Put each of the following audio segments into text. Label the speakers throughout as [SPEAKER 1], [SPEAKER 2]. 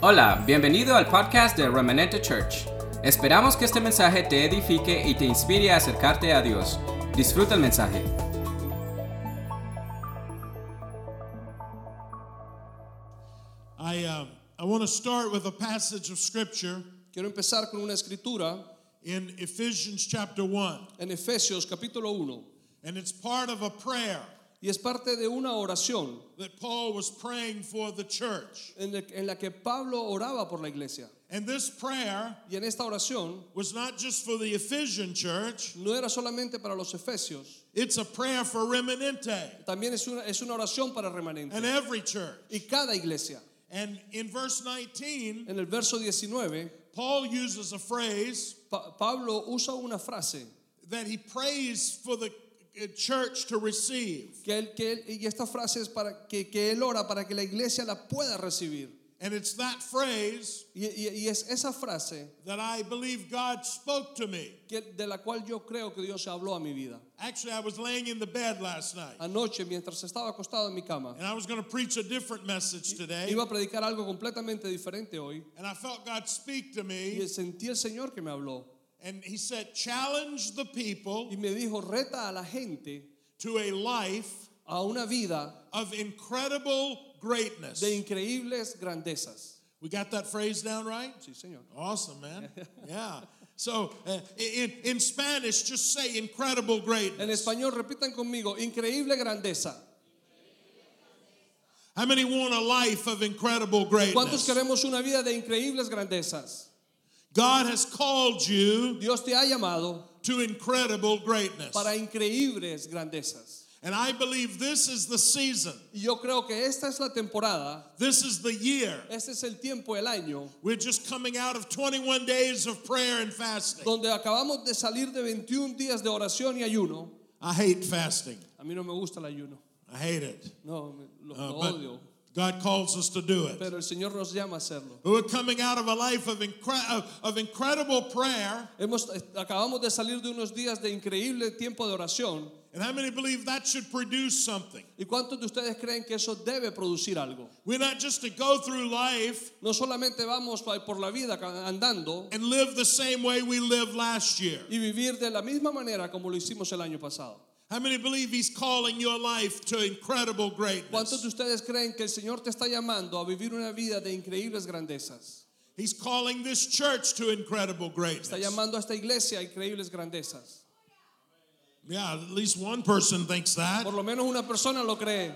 [SPEAKER 1] Hola, bienvenido al podcast de Remanente Church. Esperamos que este mensaje te edifique y te inspire a acercarte a Dios. Disfruta el mensaje.
[SPEAKER 2] I, um, I want to start with a passage of scripture
[SPEAKER 3] Quiero empezar con una escritura
[SPEAKER 2] in Ephesians chapter 1,
[SPEAKER 3] en Efesios capítulo 1
[SPEAKER 2] and it's part of a prayer
[SPEAKER 3] y es parte de una oración
[SPEAKER 2] that Paul was praying for the church.
[SPEAKER 3] en, la- en la que Pablo oraba por la iglesia.
[SPEAKER 2] And this prayer
[SPEAKER 3] Y en esta oración
[SPEAKER 2] was not just for the Ephesian church,
[SPEAKER 3] no era solamente para los efesios,
[SPEAKER 2] it's a prayer for Remanente
[SPEAKER 3] también es una, es una oración para
[SPEAKER 2] and
[SPEAKER 3] remanente
[SPEAKER 2] every church.
[SPEAKER 3] y cada iglesia.
[SPEAKER 2] And in verse 19,
[SPEAKER 3] En el verso 19,
[SPEAKER 2] Paul uses a phrase
[SPEAKER 3] Pa- Pablo usa una frase
[SPEAKER 2] that he prays for the uh, church to receive,
[SPEAKER 3] que él, que él- y esta frase es para que, que él ora para que la iglesia la pueda recibir.
[SPEAKER 2] and it's that phrase
[SPEAKER 3] Y, y- y es esa frase
[SPEAKER 2] that I believe God spoke to me.
[SPEAKER 3] que, de la cual yo creo que Dios habló a mi vida.
[SPEAKER 2] Actually, I was laying in the bed last night,
[SPEAKER 3] Anoche, mientras estaba acostado en mi cama,
[SPEAKER 2] and I was going to preach a different message today,
[SPEAKER 3] iba a predicar algo completamente diferente hoy
[SPEAKER 2] and I felt God speak to
[SPEAKER 3] y
[SPEAKER 2] me,
[SPEAKER 3] sentí el Señor que me habló
[SPEAKER 2] and He said, "Challenge the
[SPEAKER 3] y
[SPEAKER 2] people
[SPEAKER 3] me dijo, reta a la gente
[SPEAKER 2] to a life
[SPEAKER 3] a una vida
[SPEAKER 2] of incredible greatness."
[SPEAKER 3] de increíbles grandezas.
[SPEAKER 2] We got that phrase down right?
[SPEAKER 3] Sí, Señor.
[SPEAKER 2] Awesome, man. Yeah. So, uh, in in Spanish, just say "incredible greatness."
[SPEAKER 3] En español, repitan conmigo, increíble grandeza.
[SPEAKER 2] How many want a life of incredible
[SPEAKER 3] ¿Cuántos
[SPEAKER 2] greatness?
[SPEAKER 3] queremos una vida de increíbles grandezas?
[SPEAKER 2] God has called you
[SPEAKER 3] Dios te ha llamado
[SPEAKER 2] to incredible greatness.
[SPEAKER 3] para increíbles grandezas.
[SPEAKER 2] And I believe this is the season.
[SPEAKER 3] Y yo creo que esta es la temporada,
[SPEAKER 2] This is the year.
[SPEAKER 3] este es el tiempo, el año,
[SPEAKER 2] We're just coming out of 21 days of prayer and fasting.
[SPEAKER 3] donde acabamos de salir de 21 días de oración y ayuno.
[SPEAKER 2] I hate fasting.
[SPEAKER 3] A mí no me gusta el ayuno,
[SPEAKER 2] I hate it.
[SPEAKER 3] no, me- lo,
[SPEAKER 2] Uh,
[SPEAKER 3] lo
[SPEAKER 2] but
[SPEAKER 3] odio.
[SPEAKER 2] God calls us to do it.
[SPEAKER 3] Pero el Señor nos llama a hacerlo.
[SPEAKER 2] We're coming out of a life of, incre- of, of incredible prayer.
[SPEAKER 3] Hemos, acabamos de salir de unos días de increíble tiempo de oración.
[SPEAKER 2] And how many believe that should produce something?
[SPEAKER 3] ¿Y cuántos de ustedes creen que eso debe producir algo?
[SPEAKER 2] We're not just to go through life
[SPEAKER 3] No solamente vamos pa- por la vida ca- andando
[SPEAKER 2] and live the same way we lived last year.
[SPEAKER 3] y vivir de la misma manera como lo hicimos el año pasado.
[SPEAKER 2] How many believe He's calling your life to incredible
[SPEAKER 3] ¿Cuántos
[SPEAKER 2] greatness?
[SPEAKER 3] de ustedes creen que el Señor te está llamando a vivir una vida de increíbles grandezas?
[SPEAKER 2] He's calling this church to incredible
[SPEAKER 3] Está
[SPEAKER 2] greatness.
[SPEAKER 3] llamando a esta iglesia a increíbles grandezas.
[SPEAKER 2] Yeah, at least one person thinks that.
[SPEAKER 3] Por lo menos una persona lo cree.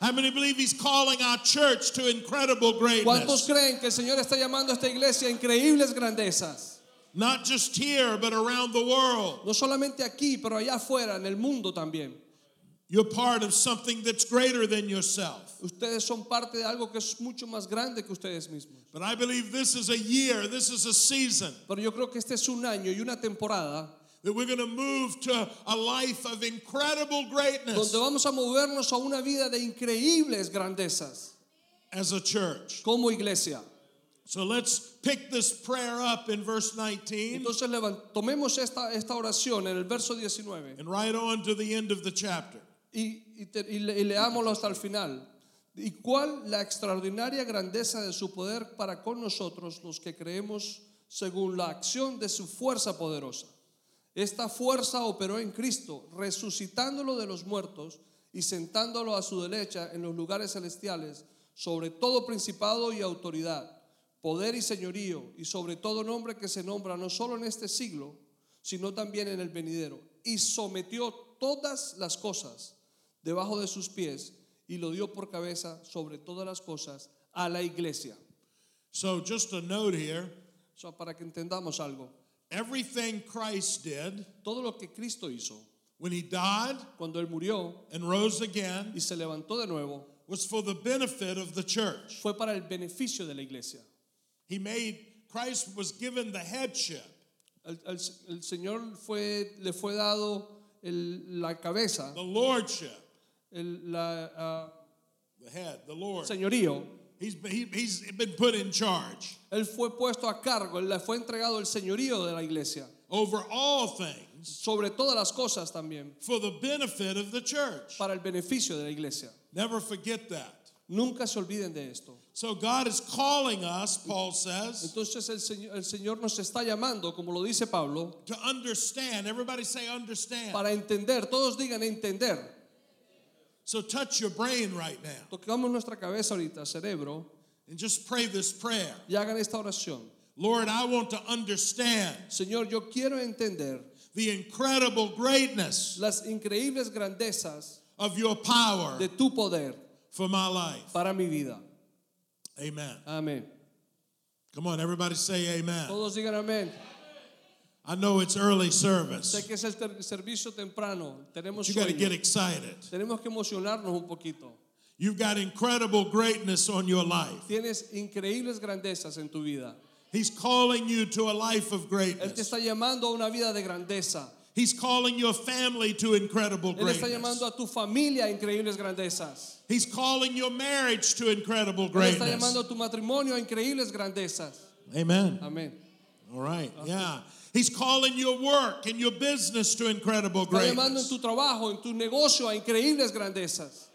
[SPEAKER 2] How many believe he's calling our church to incredible
[SPEAKER 3] ¿Cuántos
[SPEAKER 2] greatness?
[SPEAKER 3] creen que el Señor está llamando a esta iglesia a increíbles grandezas?
[SPEAKER 2] Not just here, but around the world.
[SPEAKER 3] No solamente aquí, pero allá afuera, en el mundo también.
[SPEAKER 2] You're part of something that's greater than yourself.
[SPEAKER 3] Ustedes son parte de algo que es mucho más grande que ustedes mismos.
[SPEAKER 2] But I believe this is a year, this is a season
[SPEAKER 3] Pero yo creo que este es un año y una temporada
[SPEAKER 2] that we're going to move to a life of incredible greatness
[SPEAKER 3] donde vamos a movernos a una vida de increíbles grandezas
[SPEAKER 2] as a church.
[SPEAKER 3] como iglesia.
[SPEAKER 2] So let's pick this prayer up in verse 19
[SPEAKER 3] Entonces levan- tomemos esta, esta oración en el verso 19
[SPEAKER 2] and right on to the end of the chapter.
[SPEAKER 3] y, y, te- y le- y leámoslo hasta el final. ¿Y cuál la extraordinaria grandeza de su poder para con nosotros los que creemos según la acción de su fuerza poderosa? Esta fuerza operó en Cristo, resucitándolo de los muertos y sentándolo a su derecha en los lugares celestiales, sobre todo principado y autoridad, poder y señorío, y sobre todo nombre que se nombra no solo en este siglo, sino también en el venidero. Y sometió todas las cosas debajo de sus pies y lo dio por cabeza sobre todas las cosas a la iglesia.
[SPEAKER 2] So just a note here
[SPEAKER 3] O sea, para que entendamos algo,
[SPEAKER 2] everything Christ did
[SPEAKER 3] todo lo que Cristo hizo
[SPEAKER 2] when he died
[SPEAKER 3] cuando Él murió
[SPEAKER 2] and rose again
[SPEAKER 3] y se levantó de nuevo,
[SPEAKER 2] was for the benefit of the church.
[SPEAKER 3] fue para el beneficio de la iglesia.
[SPEAKER 2] He made Christ was given the headship.
[SPEAKER 3] El, el- el Señor fue, le fue dado el- la cabeza,
[SPEAKER 2] The lordship,
[SPEAKER 3] el la, ah,
[SPEAKER 2] the head, the lord.
[SPEAKER 3] señorío.
[SPEAKER 2] He's been, he, he's been put in charge
[SPEAKER 3] Él fue puesto a cargo, le fue entregado el señorío de la iglesia,
[SPEAKER 2] over all things
[SPEAKER 3] sobre todas las cosas también,
[SPEAKER 2] for the benefit of the church.
[SPEAKER 3] para el beneficio de la iglesia.
[SPEAKER 2] Never forget that.
[SPEAKER 3] Nunca se olviden de esto.
[SPEAKER 2] So God is calling us, Paul says,
[SPEAKER 3] Entonces el Señor, el Señor nos está llamando, como lo dice Pablo,
[SPEAKER 2] to understand. Everybody say understand.
[SPEAKER 3] para entender. Todos digan entender.
[SPEAKER 2] So touch your brain right now
[SPEAKER 3] Tocamos nuestra cabeza ahorita, cerebro,
[SPEAKER 2] and just pray this prayer.
[SPEAKER 3] y hagan esta oración.
[SPEAKER 2] Lord, I want to understand
[SPEAKER 3] Señor, yo quiero entender
[SPEAKER 2] the incredible greatness
[SPEAKER 3] las increíbles grandezas
[SPEAKER 2] of your power
[SPEAKER 3] de tu poder
[SPEAKER 2] for my life.
[SPEAKER 3] para mi vida.
[SPEAKER 2] Amen.
[SPEAKER 3] Amén.
[SPEAKER 2] Come on, everybody say amen.
[SPEAKER 3] Todos digan amén.
[SPEAKER 2] I know it's early
[SPEAKER 3] Sé
[SPEAKER 2] service.
[SPEAKER 3] que es el ter- servicio temprano. Tenemos,
[SPEAKER 2] You got to
[SPEAKER 3] sueño.
[SPEAKER 2] get excited.
[SPEAKER 3] Tenemos que emocionarnos un poquito.
[SPEAKER 2] You've got incredible greatness on your life.
[SPEAKER 3] Tienes increíbles grandezas en tu vida.
[SPEAKER 2] He's calling you to a life of
[SPEAKER 3] Él te
[SPEAKER 2] greatness.
[SPEAKER 3] está llamando a una vida de grandeza.
[SPEAKER 2] He's calling your family to incredible
[SPEAKER 3] Él está llamando
[SPEAKER 2] greatness.
[SPEAKER 3] a tu familia a increíbles grandezas.
[SPEAKER 2] He's calling your marriage to incredible
[SPEAKER 3] Él está llamando
[SPEAKER 2] greatness.
[SPEAKER 3] a tu matrimonio a increíbles grandezas.
[SPEAKER 2] Amen.
[SPEAKER 3] Amén.
[SPEAKER 2] All right. Yeah. He's calling your work and your business to incredible
[SPEAKER 3] Está llamando en
[SPEAKER 2] greatness.
[SPEAKER 3] tu trabajo, en tu negocio a increíbles grandezas.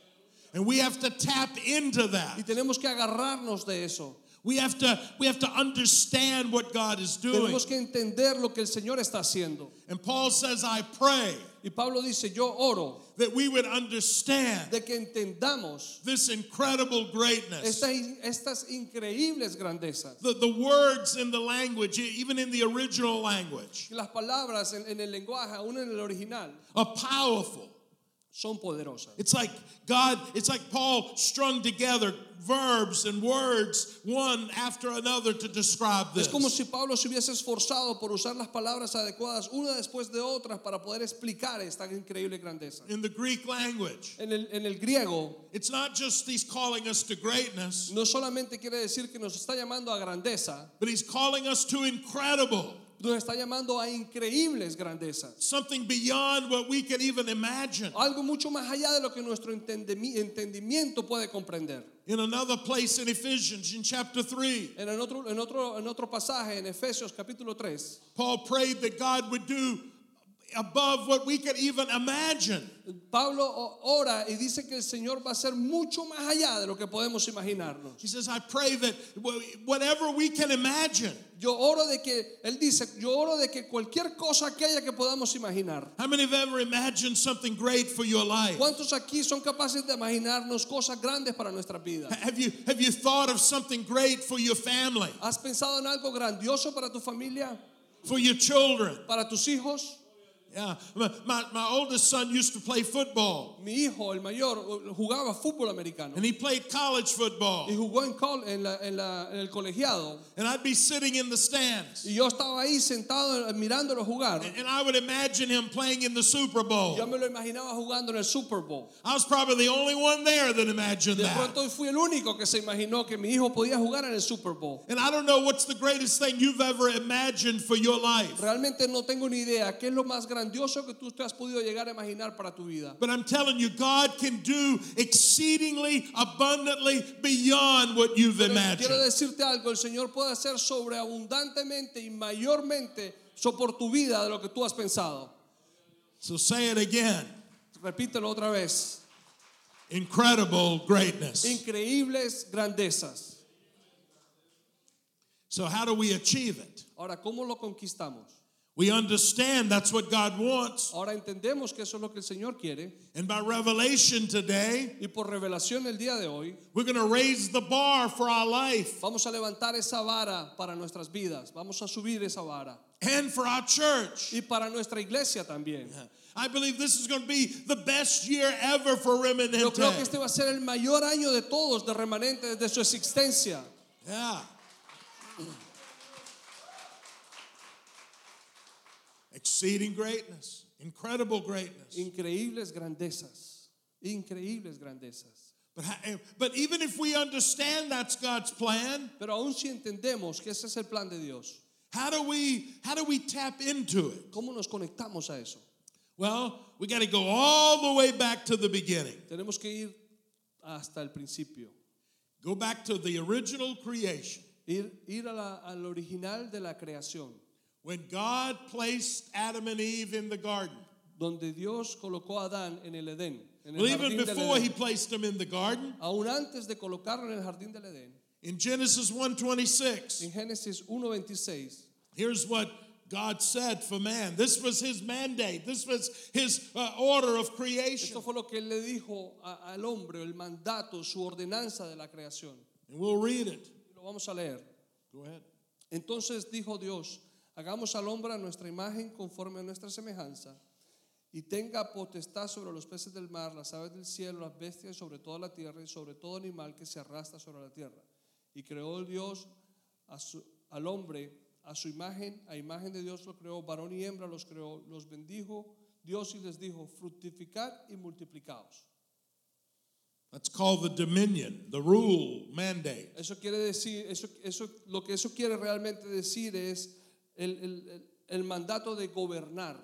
[SPEAKER 2] And we have to tap into
[SPEAKER 3] Y
[SPEAKER 2] that.
[SPEAKER 3] tenemos que agarrarnos de eso.
[SPEAKER 2] We have to we have to understand what God is doing.
[SPEAKER 3] Tenemos que entender lo que el Señor está haciendo.
[SPEAKER 2] And Paul says, I pray
[SPEAKER 3] Y Pablo dice, yo oro
[SPEAKER 2] that we would understand
[SPEAKER 3] de que entendamos
[SPEAKER 2] this incredible greatness.
[SPEAKER 3] estas, estas increíbles grandezas.
[SPEAKER 2] The, the words in the language, e- even in the original language,
[SPEAKER 3] Que Las palabras en, en el lenguaje, aún en el original,
[SPEAKER 2] are powerful.
[SPEAKER 3] son poderosas.
[SPEAKER 2] It's like God, it's like Paul strung together verbs and words one after another to describe
[SPEAKER 3] Es
[SPEAKER 2] this.
[SPEAKER 3] como si Pablo se hubiese esforzado por usar las palabras adecuadas una después de otras para poder explicar esta increíble grandeza.
[SPEAKER 2] In the Greek language,
[SPEAKER 3] En el, en el griego
[SPEAKER 2] it's not just he's calling us to greatness,
[SPEAKER 3] no solamente quiere decir que nos está llamando a grandeza,
[SPEAKER 2] but he's calling us to incredible,
[SPEAKER 3] nos está llamando a increíbles grandezas.
[SPEAKER 2] something beyond what we can even imagine.
[SPEAKER 3] Algo mucho más allá de lo que nuestro entendemi- entendimiento puede comprender.
[SPEAKER 2] In another place in Ephesians, in chapter 3,
[SPEAKER 3] En, el otro, en, otro, en otro pasaje, en Efesios capítulo 3,
[SPEAKER 2] Paul prayed that God would do above what we could even imagine.
[SPEAKER 3] Pablo o- ora y dice que el Señor va a ser mucho más allá de lo que podemos imaginarnos.
[SPEAKER 2] He says, I pray that wh- whatever we can imagine.
[SPEAKER 3] Yo oro de que, él dice, yo oro de que cualquier cosa que haya que podamos imaginar.
[SPEAKER 2] How many have ever imagined something great for your life?
[SPEAKER 3] ¿Cuántos aquí son capaces de imaginarnos cosas grandes para nuestras vidas?
[SPEAKER 2] Ha- Have you have you thought of something great for your family,
[SPEAKER 3] ¿Has pensado en algo grandioso para tu familia,
[SPEAKER 2] for your children?
[SPEAKER 3] para tus hijos?
[SPEAKER 2] Yeah. My, my, my oldest son used to play football,
[SPEAKER 3] Mi hijo, el mayor, jugaba fútbol americano
[SPEAKER 2] and he played college
[SPEAKER 3] y
[SPEAKER 2] football.
[SPEAKER 3] jugó en, col- en la- en la- en el colegiado.
[SPEAKER 2] And I'd be sitting in the stands,
[SPEAKER 3] Y yo estaba ahí sentado eh, mirándolo jugar.
[SPEAKER 2] and, and I would imagine him playing in the Super
[SPEAKER 3] Yo
[SPEAKER 2] Bowl.
[SPEAKER 3] me lo imaginaba jugando en el Super Bowl.
[SPEAKER 2] I was probably the only one there that imagined
[SPEAKER 3] De
[SPEAKER 2] that.
[SPEAKER 3] pronto fui el único que se imaginó que mi hijo podía jugar en el Super Bowl.
[SPEAKER 2] And I don't know what's the greatest thing you've ever imagined for your life.
[SPEAKER 3] Realmente no tengo ni idea qué es lo más grandioso que tú te has podido llegar a imaginar para tu vida.
[SPEAKER 2] But I'm telling you, God can do exceedingly abundantly beyond what you've
[SPEAKER 3] Pero quiero
[SPEAKER 2] imagined.
[SPEAKER 3] decirte algo, el Señor puede hacer sobreabundantemente y mayormente so- por tu vida de lo que tú has pensado.
[SPEAKER 2] So say it again
[SPEAKER 3] Repítelo otra vez.
[SPEAKER 2] incredible greatness.
[SPEAKER 3] Increíbles grandezas.
[SPEAKER 2] So, how do we achieve it?
[SPEAKER 3] Ahora, ¿cómo lo conquistamos?
[SPEAKER 2] We understand that's what God wants.
[SPEAKER 3] Ahora entendemos que eso es lo que el Señor quiere
[SPEAKER 2] And by revelation today,
[SPEAKER 3] y por revelación el día de hoy
[SPEAKER 2] we're going to raise the bar for our life
[SPEAKER 3] vamos a levantar esa vara para nuestras vidas, vamos a subir esa vara
[SPEAKER 2] and for our church.
[SPEAKER 3] y para nuestra iglesia también.
[SPEAKER 2] I believe this is going to be the best year ever for
[SPEAKER 3] Yo creo que
[SPEAKER 2] Remanente.
[SPEAKER 3] este va a ser el mayor año de todos de remanente desde su existencia.
[SPEAKER 2] Yeah. Exceeding greatness, incredible greatness.
[SPEAKER 3] Increíbles grandezas, increíbles grandezas.
[SPEAKER 2] But, ha- eh, but even if we understand that's God's plan,
[SPEAKER 3] Pero aún si entendemos que ese es el plan de Dios,
[SPEAKER 2] how do we how do we tap into it?
[SPEAKER 3] ¿cómo nos conectamos a eso?
[SPEAKER 2] Well, we got to go all the way back to the beginning.
[SPEAKER 3] Tenemos que ir hasta el principio,
[SPEAKER 2] Go back to the original creation
[SPEAKER 3] ir, ir a la- al original de la creación,
[SPEAKER 2] when God placed Adam and Eve in the garden.
[SPEAKER 3] donde Dios colocó a Adán en el Edén. en el
[SPEAKER 2] Well, even
[SPEAKER 3] jardín del
[SPEAKER 2] before he
[SPEAKER 3] Edén.
[SPEAKER 2] placed them in the garden,
[SPEAKER 3] Aún antes de colocarlo en el jardín del Edén,
[SPEAKER 2] in Genesis 1:26,
[SPEAKER 3] en Génesis 1:26,
[SPEAKER 2] here's what God said for man. This was his mandate. This was his uh, order of creation.
[SPEAKER 3] esto fue lo que él le dijo a- al hombre, el mandato, su ordenanza de la creación.
[SPEAKER 2] And we'll read it.
[SPEAKER 3] Lo vamos a leer.
[SPEAKER 2] Go ahead.
[SPEAKER 3] Entonces dijo Dios, hagamos al hombre a nuestra imagen conforme a nuestra semejanza, y tenga potestad sobre los peces del mar, las aves del cielo, las bestias, y sobre toda la tierra, y sobre todo animal que se arrastra sobre la tierra. Y creó Dios a su- al hombre a su imagen, a imagen de Dios lo creó, varón y hembra los creó, los bendijo Dios y les dijo, fructificad y multiplicaos.
[SPEAKER 2] That's called the dominion, the rule, mandate.
[SPEAKER 3] Eso quiere decir, eso, eso, lo que eso quiere realmente decir es el, el- el- el mandato de gobernar.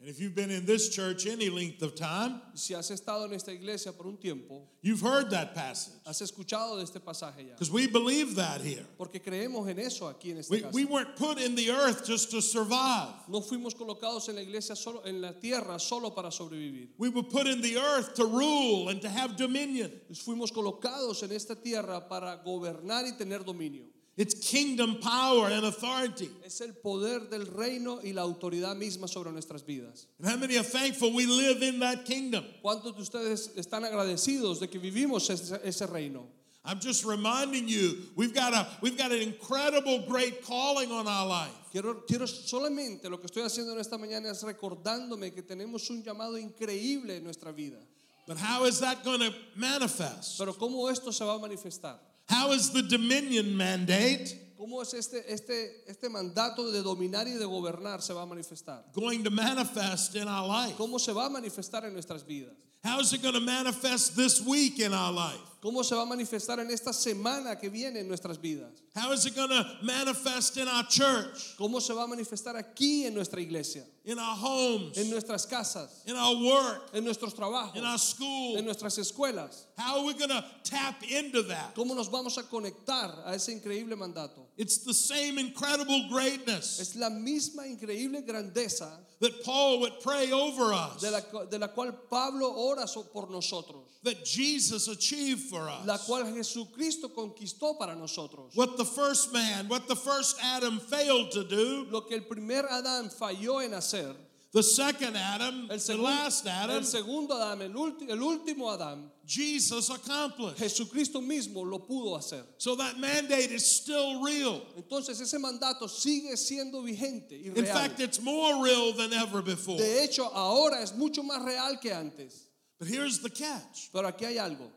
[SPEAKER 2] And if you've been in this church any length of time,
[SPEAKER 3] Si has estado en esta iglesia por un tiempo,
[SPEAKER 2] you've heard that passage.
[SPEAKER 3] has escuchado de este pasaje ya.
[SPEAKER 2] Because we believe that here.
[SPEAKER 3] Porque creemos en eso aquí en esta
[SPEAKER 2] We,
[SPEAKER 3] casa.
[SPEAKER 2] we weren't put in the earth just to survive.
[SPEAKER 3] no fuimos colocados en la iglesia solo, en la tierra solo para sobrevivir.
[SPEAKER 2] We were put in the earth to rule and to have dominion.
[SPEAKER 3] Fuimos colocados en esta tierra para gobernar y tener dominio.
[SPEAKER 2] It's kingdom power and authority.
[SPEAKER 3] Es el poder del reino y la autoridad misma sobre nuestras vidas.
[SPEAKER 2] And how many are thankful we live in that kingdom?
[SPEAKER 3] ¿Cuántos de ustedes están agradecidos de que vivimos ese- ese reino?
[SPEAKER 2] I'm just reminding you, we've got a we've got an incredible great calling on our life.
[SPEAKER 3] Quiero, quiero solamente lo que estoy haciendo en esta mañana es recordándome que tenemos un llamado increíble en nuestra vida.
[SPEAKER 2] But how is that going to manifest?
[SPEAKER 3] Pero ¿cómo esto se va a manifestar?
[SPEAKER 2] How is the dominion mandate
[SPEAKER 3] ¿Cómo es este, este, este mandato de dominar y de gobernar se va a manifestar?
[SPEAKER 2] going to manifest in our life?
[SPEAKER 3] ¿Cómo se va a manifestar en nuestras vidas?
[SPEAKER 2] How is it going to manifest this week in our life?
[SPEAKER 3] ¿Cómo se va a manifestar en esta semana que viene en nuestras vidas?
[SPEAKER 2] How is it going to manifest in our church,
[SPEAKER 3] ¿Cómo se va a manifestar aquí en nuestra iglesia?
[SPEAKER 2] in our homes,
[SPEAKER 3] En nuestras casas,
[SPEAKER 2] in our work,
[SPEAKER 3] en nuestros trabajos,
[SPEAKER 2] in our
[SPEAKER 3] en
[SPEAKER 2] school?
[SPEAKER 3] nuestras escuelas.
[SPEAKER 2] How are we going to tap into that?
[SPEAKER 3] ¿Cómo nos vamos a conectar a ese increíble mandato?
[SPEAKER 2] It's the same incredible greatness
[SPEAKER 3] Es la misma increíble grandeza
[SPEAKER 2] that Paul would pray over us,
[SPEAKER 3] de la, cu- de la cual Pablo ora so- por nosotros,
[SPEAKER 2] that Jesus achieved for
[SPEAKER 3] la
[SPEAKER 2] us.
[SPEAKER 3] cual Jesucristo conquistó para nosotros.
[SPEAKER 2] What the first man, what the first Adam failed to do,
[SPEAKER 3] Lo que el primer Adán falló en hacer,
[SPEAKER 2] the second Adam, the
[SPEAKER 3] el, segun-
[SPEAKER 2] last Adam,
[SPEAKER 3] el segundo Adán, el, ulti- el último Adán,
[SPEAKER 2] Jesus accomplished.
[SPEAKER 3] Jesucristo mismo lo pudo hacer.
[SPEAKER 2] So that mandate is still real.
[SPEAKER 3] Entonces ese mandato sigue siendo vigente y
[SPEAKER 2] In
[SPEAKER 3] real.
[SPEAKER 2] fact, it's more real than ever before.
[SPEAKER 3] De hecho, ahora es mucho más real que antes.
[SPEAKER 2] But here's the catch
[SPEAKER 3] Pero aquí hay algo.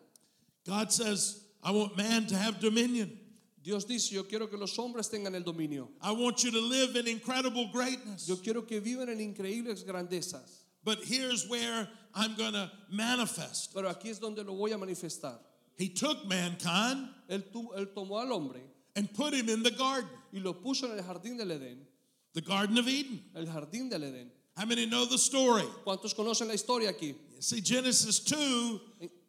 [SPEAKER 2] God says, I want man to have dominion.
[SPEAKER 3] Dios dice, yo quiero que los hombres tengan el dominio.
[SPEAKER 2] I want you to live in incredible greatness.
[SPEAKER 3] Yo quiero que vivan en increíbles grandezas.
[SPEAKER 2] But here's where I'm going to manifest.
[SPEAKER 3] Pero aquí es donde lo voy a manifestar.
[SPEAKER 2] He took mankind
[SPEAKER 3] Él, tu- él tomó al hombre
[SPEAKER 2] and put him in the garden,
[SPEAKER 3] y lo puso en el jardín del Edén.
[SPEAKER 2] the Garden of Eden.
[SPEAKER 3] El jardín del Edén.
[SPEAKER 2] How many know the story?
[SPEAKER 3] ¿Cuántos conocen la historia aquí?
[SPEAKER 2] See, Genesis 2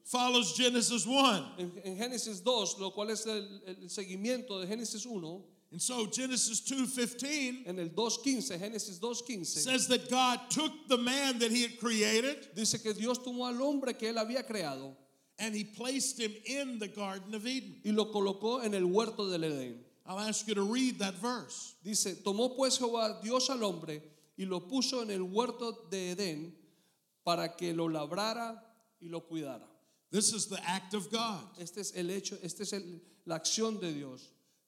[SPEAKER 2] follows Genesis 1.
[SPEAKER 3] En, en Génesis 2, lo cual es el, el seguimiento de Génesis 1,
[SPEAKER 2] And so Genesis 2:15
[SPEAKER 3] en el 2.15, Génesis 2.15,
[SPEAKER 2] says that God took the man that he had created
[SPEAKER 3] dice que Dios tomó al hombre que él había creado
[SPEAKER 2] and he placed him in the Garden of Eden.
[SPEAKER 3] y lo colocó en el huerto del Edén.
[SPEAKER 2] I'll ask you to read that verse.
[SPEAKER 3] Dice, tomó pues Jehová Dios al hombre y lo puso en el huerto de Edén para que lo labrara y lo cuidara.
[SPEAKER 2] This is the act of God.
[SPEAKER 3] Este es el hecho, esta es el- la acción de Dios.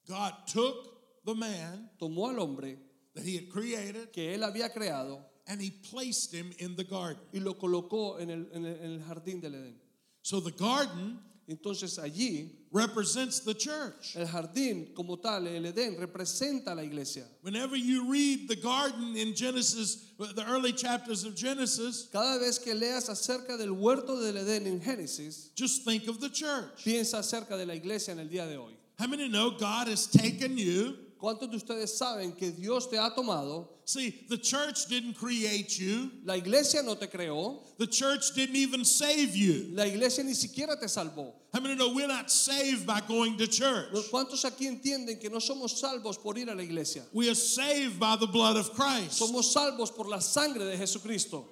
[SPEAKER 2] God took the man
[SPEAKER 3] Tomó al hombre
[SPEAKER 2] that he had created
[SPEAKER 3] que él había creado
[SPEAKER 2] and he placed him in the garden.
[SPEAKER 3] y lo colocó en el, en el- en el jardín del Edén.
[SPEAKER 2] So the garden
[SPEAKER 3] Entonces allí,
[SPEAKER 2] represents the church.
[SPEAKER 3] el jardín como tal, el Edén, representa a la iglesia.
[SPEAKER 2] Whenever you read the garden in Genesis, the early chapters of Genesis,
[SPEAKER 3] Cada vez que leas acerca del huerto del Edén en Génesis,
[SPEAKER 2] just think of the church.
[SPEAKER 3] piensa acerca de la iglesia en el día de hoy.
[SPEAKER 2] How many know God has taken you?
[SPEAKER 3] ¿Cuántos de ustedes saben que Dios te ha tomado?
[SPEAKER 2] See, the church didn't create you.
[SPEAKER 3] La iglesia no te creó,
[SPEAKER 2] The church didn't even save you.
[SPEAKER 3] la iglesia ni siquiera te salvó.
[SPEAKER 2] How many know we're not saved by going to church?
[SPEAKER 3] ¿Cuántos aquí entienden que no somos salvos por ir a la iglesia?
[SPEAKER 2] We are saved by the blood of Christ.
[SPEAKER 3] Somos salvos por la sangre de Jesucristo.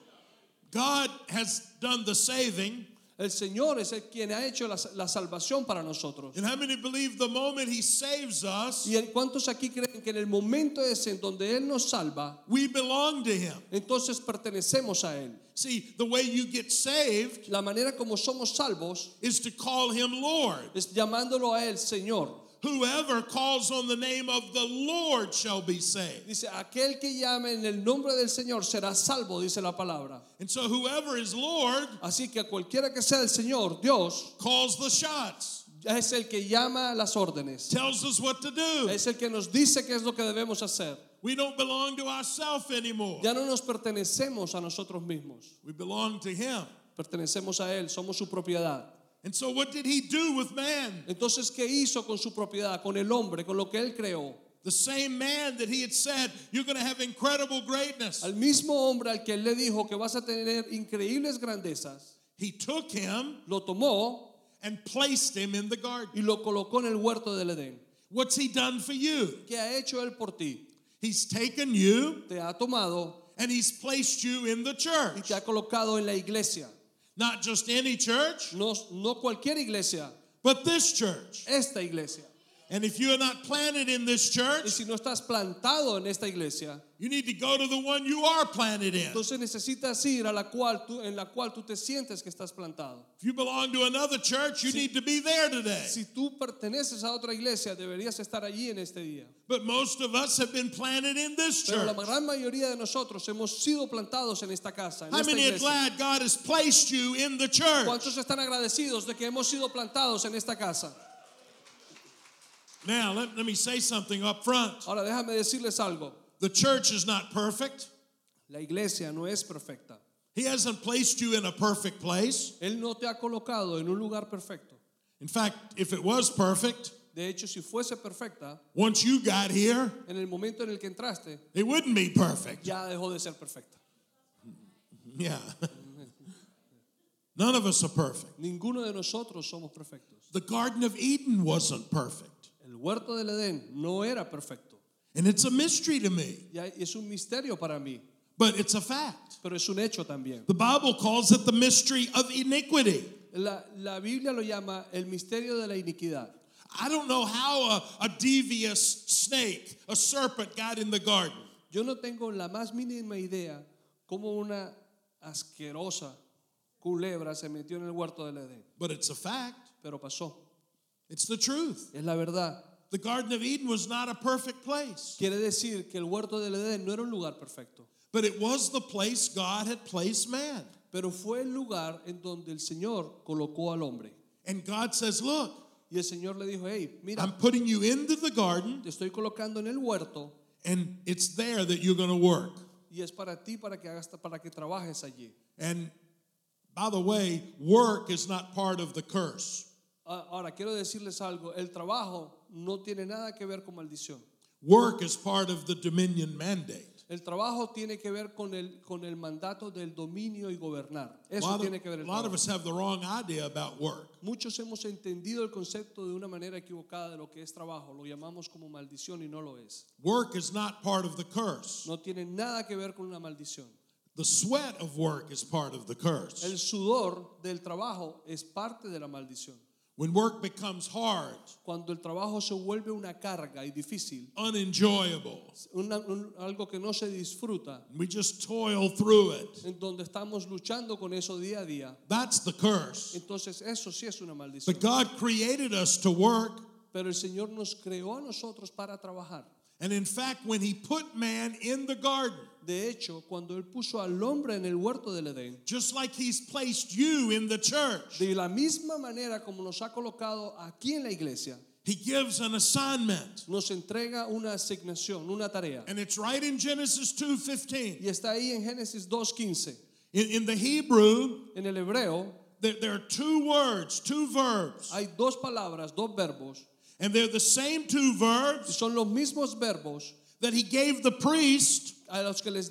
[SPEAKER 2] God has done the saving.
[SPEAKER 3] El Señor es el quien ha hecho la, la salvación para nosotros.
[SPEAKER 2] And how many believe the moment He saves us,
[SPEAKER 3] ¿Y en- cuántos aquí creen que en el momento ese en donde Él nos salva,
[SPEAKER 2] we belong to Him?
[SPEAKER 3] entonces pertenecemos a Él?
[SPEAKER 2] See, the way you get saved
[SPEAKER 3] La manera como somos salvos
[SPEAKER 2] is to call Him Lord.
[SPEAKER 3] es llamándolo a Él Señor.
[SPEAKER 2] Whoever calls on the name of the Lord shall be saved.
[SPEAKER 3] Dice, aquel que llame en el nombre del Señor será salvo, dice la palabra.
[SPEAKER 2] And so whoever is Lord
[SPEAKER 3] Así que cualquiera que sea el Señor, Dios,
[SPEAKER 2] calls the shots,
[SPEAKER 3] es el que llama las órdenes.
[SPEAKER 2] tells us what to do.
[SPEAKER 3] Es el que nos dice qué es lo que debemos hacer.
[SPEAKER 2] We don't belong to ourselves anymore.
[SPEAKER 3] Ya no nos pertenecemos a nosotros mismos,
[SPEAKER 2] We belong to Him.
[SPEAKER 3] pertenecemos a Él, somos su propiedad.
[SPEAKER 2] And so what did He do with man?
[SPEAKER 3] Entonces, ¿qué hizo con su propiedad, con el hombre, con lo que Él creó?
[SPEAKER 2] The same man that He had said, You're going to have incredible greatness.
[SPEAKER 3] Al mismo hombre al que Él le dijo que vas a tener increíbles grandezas,
[SPEAKER 2] He took Him
[SPEAKER 3] lo tomó
[SPEAKER 2] and placed Him in the garden.
[SPEAKER 3] y lo colocó en el huerto del Edén.
[SPEAKER 2] What's He done for you?
[SPEAKER 3] ¿Qué ha hecho Él por ti?
[SPEAKER 2] He's taken you
[SPEAKER 3] Te ha tomado
[SPEAKER 2] and He's placed you in the
[SPEAKER 3] y
[SPEAKER 2] church.
[SPEAKER 3] te ha colocado en la iglesia.
[SPEAKER 2] Not just any church,
[SPEAKER 3] No, no cualquier iglesia,
[SPEAKER 2] but this church.
[SPEAKER 3] esta iglesia.
[SPEAKER 2] And if you are not planted in this
[SPEAKER 3] Y
[SPEAKER 2] church,
[SPEAKER 3] si no estás plantado en esta iglesia,
[SPEAKER 2] you need to go to the one you are planted in.
[SPEAKER 3] entonces necesitas ir a la cual tú, en la cual tú te sientes que estás plantado.
[SPEAKER 2] If you belong to another church, you need to be there today.
[SPEAKER 3] Si tú perteneces a otra iglesia, deberías estar allí en este día.
[SPEAKER 2] But most of us have been planted in this
[SPEAKER 3] Pero la
[SPEAKER 2] church.
[SPEAKER 3] gran mayoría de nosotros hemos sido plantados en esta casa, en
[SPEAKER 2] How
[SPEAKER 3] esta
[SPEAKER 2] many are
[SPEAKER 3] iglesia.
[SPEAKER 2] glad God has placed you in the church?
[SPEAKER 3] ¿Cuántos están agradecidos de que hemos sido plantados en esta casa?
[SPEAKER 2] Now, let, let me say something up front.
[SPEAKER 3] Ahora déjame decirles algo.
[SPEAKER 2] The church is not perfect.
[SPEAKER 3] La iglesia no es perfecta.
[SPEAKER 2] He hasn't placed you in a perfect place.
[SPEAKER 3] Él no te ha colocado en un lugar perfecto.
[SPEAKER 2] In fact, if it was perfect,
[SPEAKER 3] De hecho, si fuese perfecta,
[SPEAKER 2] once you got here,
[SPEAKER 3] en el momento en el que entraste,
[SPEAKER 2] it wouldn't be perfect.
[SPEAKER 3] ya dejó de ser perfecta.
[SPEAKER 2] Yeah. None of us are perfect.
[SPEAKER 3] Ninguno de nosotros somos perfectos.
[SPEAKER 2] The Garden of Eden wasn't perfect.
[SPEAKER 3] El huerto del Edén no era perfecto.
[SPEAKER 2] And it's a mystery to me,
[SPEAKER 3] Y hay- es un misterio para mí,
[SPEAKER 2] but it's a fact.
[SPEAKER 3] pero es un hecho también.
[SPEAKER 2] The Bible calls it the mystery of iniquity.
[SPEAKER 3] La, la Biblia lo llama el misterio de la iniquidad.
[SPEAKER 2] I don't know how a, a devious snake, a serpent, got in the garden.
[SPEAKER 3] Yo no tengo la más mínima idea cómo una asquerosa culebra se metió en el huerto del Edén,
[SPEAKER 2] But it's a fact.
[SPEAKER 3] pero pasó.
[SPEAKER 2] It's the truth.
[SPEAKER 3] Es la verdad.
[SPEAKER 2] The Garden of Eden was not a perfect place,
[SPEAKER 3] Quiere decir que el huerto del Edén no era un lugar perfecto,
[SPEAKER 2] but it was the place God had placed man.
[SPEAKER 3] pero fue el lugar en donde el Señor colocó al hombre.
[SPEAKER 2] And God says, Look,
[SPEAKER 3] Y el Señor le dijo, hey, mira,
[SPEAKER 2] I'm putting you into the garden,
[SPEAKER 3] te estoy colocando en el huerto
[SPEAKER 2] and it's there that you're going to work.
[SPEAKER 3] y es para ti, para que hagas, para que trabajes allí.
[SPEAKER 2] And by the way, work is not part of the curse.
[SPEAKER 3] A- Ahora, quiero decirles algo, el trabajo no tiene nada que ver con maldición.
[SPEAKER 2] Work is part of the dominion mandate.
[SPEAKER 3] El trabajo tiene que ver con el, con el mandato del dominio y gobernar.
[SPEAKER 2] A
[SPEAKER 3] Eso
[SPEAKER 2] lot,
[SPEAKER 3] tiene
[SPEAKER 2] of,
[SPEAKER 3] que ver
[SPEAKER 2] a
[SPEAKER 3] el
[SPEAKER 2] lot of
[SPEAKER 3] trabajo.
[SPEAKER 2] us have the wrong idea about work.
[SPEAKER 3] Muchos hemos entendido el concepto de una manera equivocada de lo que es trabajo. Lo llamamos como maldición y no lo es.
[SPEAKER 2] Work is not part of the curse.
[SPEAKER 3] No tiene nada que ver con una maldición.
[SPEAKER 2] The sweat of work is part of the
[SPEAKER 3] El
[SPEAKER 2] curse.
[SPEAKER 3] sudor del trabajo es parte de la maldición.
[SPEAKER 2] When work becomes hard,
[SPEAKER 3] Cuando el trabajo se vuelve una carga y difícil,
[SPEAKER 2] unenjoyable,
[SPEAKER 3] una- un- algo que no se disfruta,
[SPEAKER 2] we just toil through it,
[SPEAKER 3] en donde estamos luchando con eso día a día,
[SPEAKER 2] that's the curse.
[SPEAKER 3] entonces eso sí es una maldición.
[SPEAKER 2] But God created us to work.
[SPEAKER 3] Pero el Señor nos creó a nosotros para trabajar.
[SPEAKER 2] And in fact, when He put man in the garden,
[SPEAKER 3] De hecho, cuando Él puso al hombre en el huerto del Edén,
[SPEAKER 2] just like He's placed you in the church,
[SPEAKER 3] de la misma manera como nos ha colocado aquí en la iglesia,
[SPEAKER 2] He gives an assignment.
[SPEAKER 3] nos entrega una asignación, una tarea.
[SPEAKER 2] And it's right in Genesis 2:15.
[SPEAKER 3] Y está ahí en Génesis 2.15.
[SPEAKER 2] In, in the Hebrew,
[SPEAKER 3] En el hebreo
[SPEAKER 2] there, there are two words, two verbs,
[SPEAKER 3] hay dos palabras, dos verbos,
[SPEAKER 2] and they're the same two
[SPEAKER 3] y
[SPEAKER 2] verbs
[SPEAKER 3] son los mismos verbos
[SPEAKER 2] that he gave the priest
[SPEAKER 3] a los que, les,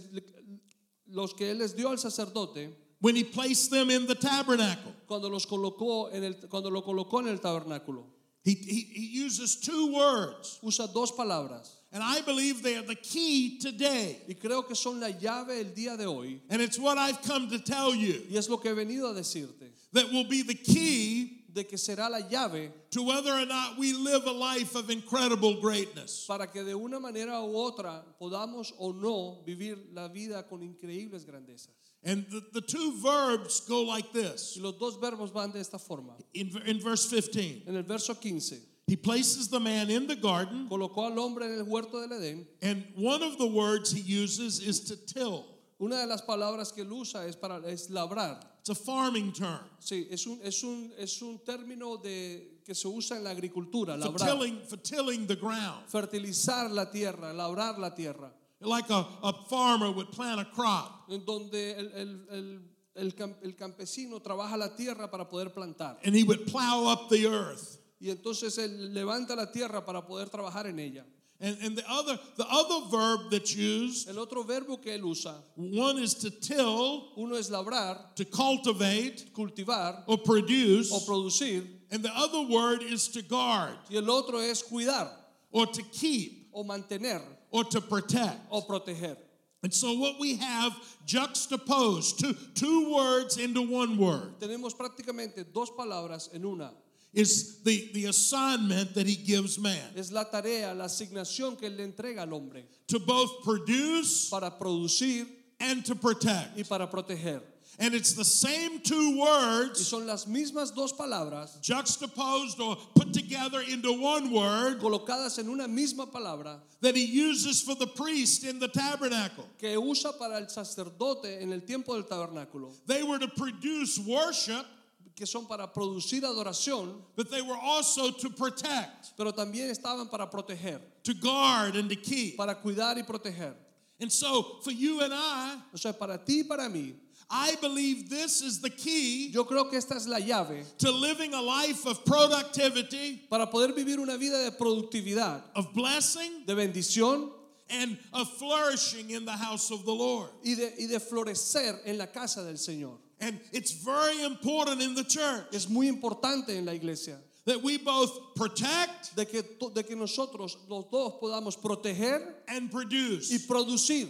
[SPEAKER 3] los que Él les dio al sacerdote
[SPEAKER 2] when he placed them in the tabernacle.
[SPEAKER 3] cuando, los colocó en el, cuando lo colocó en el tabernáculo.
[SPEAKER 2] He, he, he uses two words,
[SPEAKER 3] Usa dos palabras.
[SPEAKER 2] and I believe they are the key today.
[SPEAKER 3] Y creo que son la llave el día de hoy.
[SPEAKER 2] And it's what I've come to tell you
[SPEAKER 3] Y es lo que he venido a decirte.
[SPEAKER 2] that will be the key
[SPEAKER 3] De que será la llave
[SPEAKER 2] to whether or not we live a life of incredible greatness.
[SPEAKER 3] para que de una manera u otra podamos o no vivir la vida con increíbles grandezas.
[SPEAKER 2] And the, the two verbs go like this
[SPEAKER 3] Y los dos verbos van de esta forma.
[SPEAKER 2] in, v- in verse 15.
[SPEAKER 3] En el verso 15,
[SPEAKER 2] He places the man in the garden,
[SPEAKER 3] colocó al hombre en el huerto del Edén.
[SPEAKER 2] and one of the words he uses is to till.
[SPEAKER 3] Una de las palabras que él usa es, para, es labrar.
[SPEAKER 2] It's a farming term.
[SPEAKER 3] Sí, es un, es un, es un término de, que se usa en la agricultura,
[SPEAKER 2] For
[SPEAKER 3] labrar.
[SPEAKER 2] tilling, for tilling the ground.
[SPEAKER 3] Fertilizar la tierra, labrar la tierra.
[SPEAKER 2] Like a, a farmer would plant a crop,
[SPEAKER 3] En donde el, el- el- el cam- el campesino trabaja la tierra para poder plantar.
[SPEAKER 2] and he would plow up the earth.
[SPEAKER 3] Y entonces él levanta la tierra para poder trabajar en ella.
[SPEAKER 2] And, and the other the other verb that's used,
[SPEAKER 3] El otro verbo que él usa,
[SPEAKER 2] one is to till,
[SPEAKER 3] uno es labrar,
[SPEAKER 2] to cultivate
[SPEAKER 3] cultivar
[SPEAKER 2] or
[SPEAKER 3] o
[SPEAKER 2] produce,
[SPEAKER 3] producir,
[SPEAKER 2] and the other word is to guard
[SPEAKER 3] y el otro es cuidar
[SPEAKER 2] or to keep
[SPEAKER 3] o mantener
[SPEAKER 2] or to protect.
[SPEAKER 3] o proteger.
[SPEAKER 2] And so what we have juxtaposed two two words into one word
[SPEAKER 3] Tenemos prácticamente dos palabras en una.
[SPEAKER 2] is the the assignment that he gives man
[SPEAKER 3] Es la tarea, la asignación que él le entrega al hombre
[SPEAKER 2] to both produce
[SPEAKER 3] para producir
[SPEAKER 2] and to protect.
[SPEAKER 3] y para proteger.
[SPEAKER 2] And it's the same two
[SPEAKER 3] Y
[SPEAKER 2] words
[SPEAKER 3] son las mismas dos palabras
[SPEAKER 2] juxtaposed or put together into one word
[SPEAKER 3] colocadas en una misma palabra
[SPEAKER 2] that he uses for the priest in the tabernacle.
[SPEAKER 3] que usa para el sacerdote en el tiempo del tabernáculo,
[SPEAKER 2] They were to produce worship,
[SPEAKER 3] que son para producir adoración,
[SPEAKER 2] but they were also to protect,
[SPEAKER 3] pero también estaban para proteger,
[SPEAKER 2] to guard, and to keep.
[SPEAKER 3] para cuidar y proteger.
[SPEAKER 2] And so for you and I,
[SPEAKER 3] O sea, para ti y para mí,
[SPEAKER 2] I believe this is the key
[SPEAKER 3] yo creo que esta es la llave
[SPEAKER 2] to living a life of productivity,
[SPEAKER 3] para poder vivir una vida de productividad,
[SPEAKER 2] of blessing,
[SPEAKER 3] de bendición
[SPEAKER 2] and of flourishing in the house of the Lord.
[SPEAKER 3] y de, y de florecer en la casa del Señor.
[SPEAKER 2] And it's very important in the church
[SPEAKER 3] Es muy importante en la iglesia
[SPEAKER 2] that we both protect
[SPEAKER 3] de que, to- de que nosotros los dos podamos proteger
[SPEAKER 2] and
[SPEAKER 3] y
[SPEAKER 2] produce.
[SPEAKER 3] producir.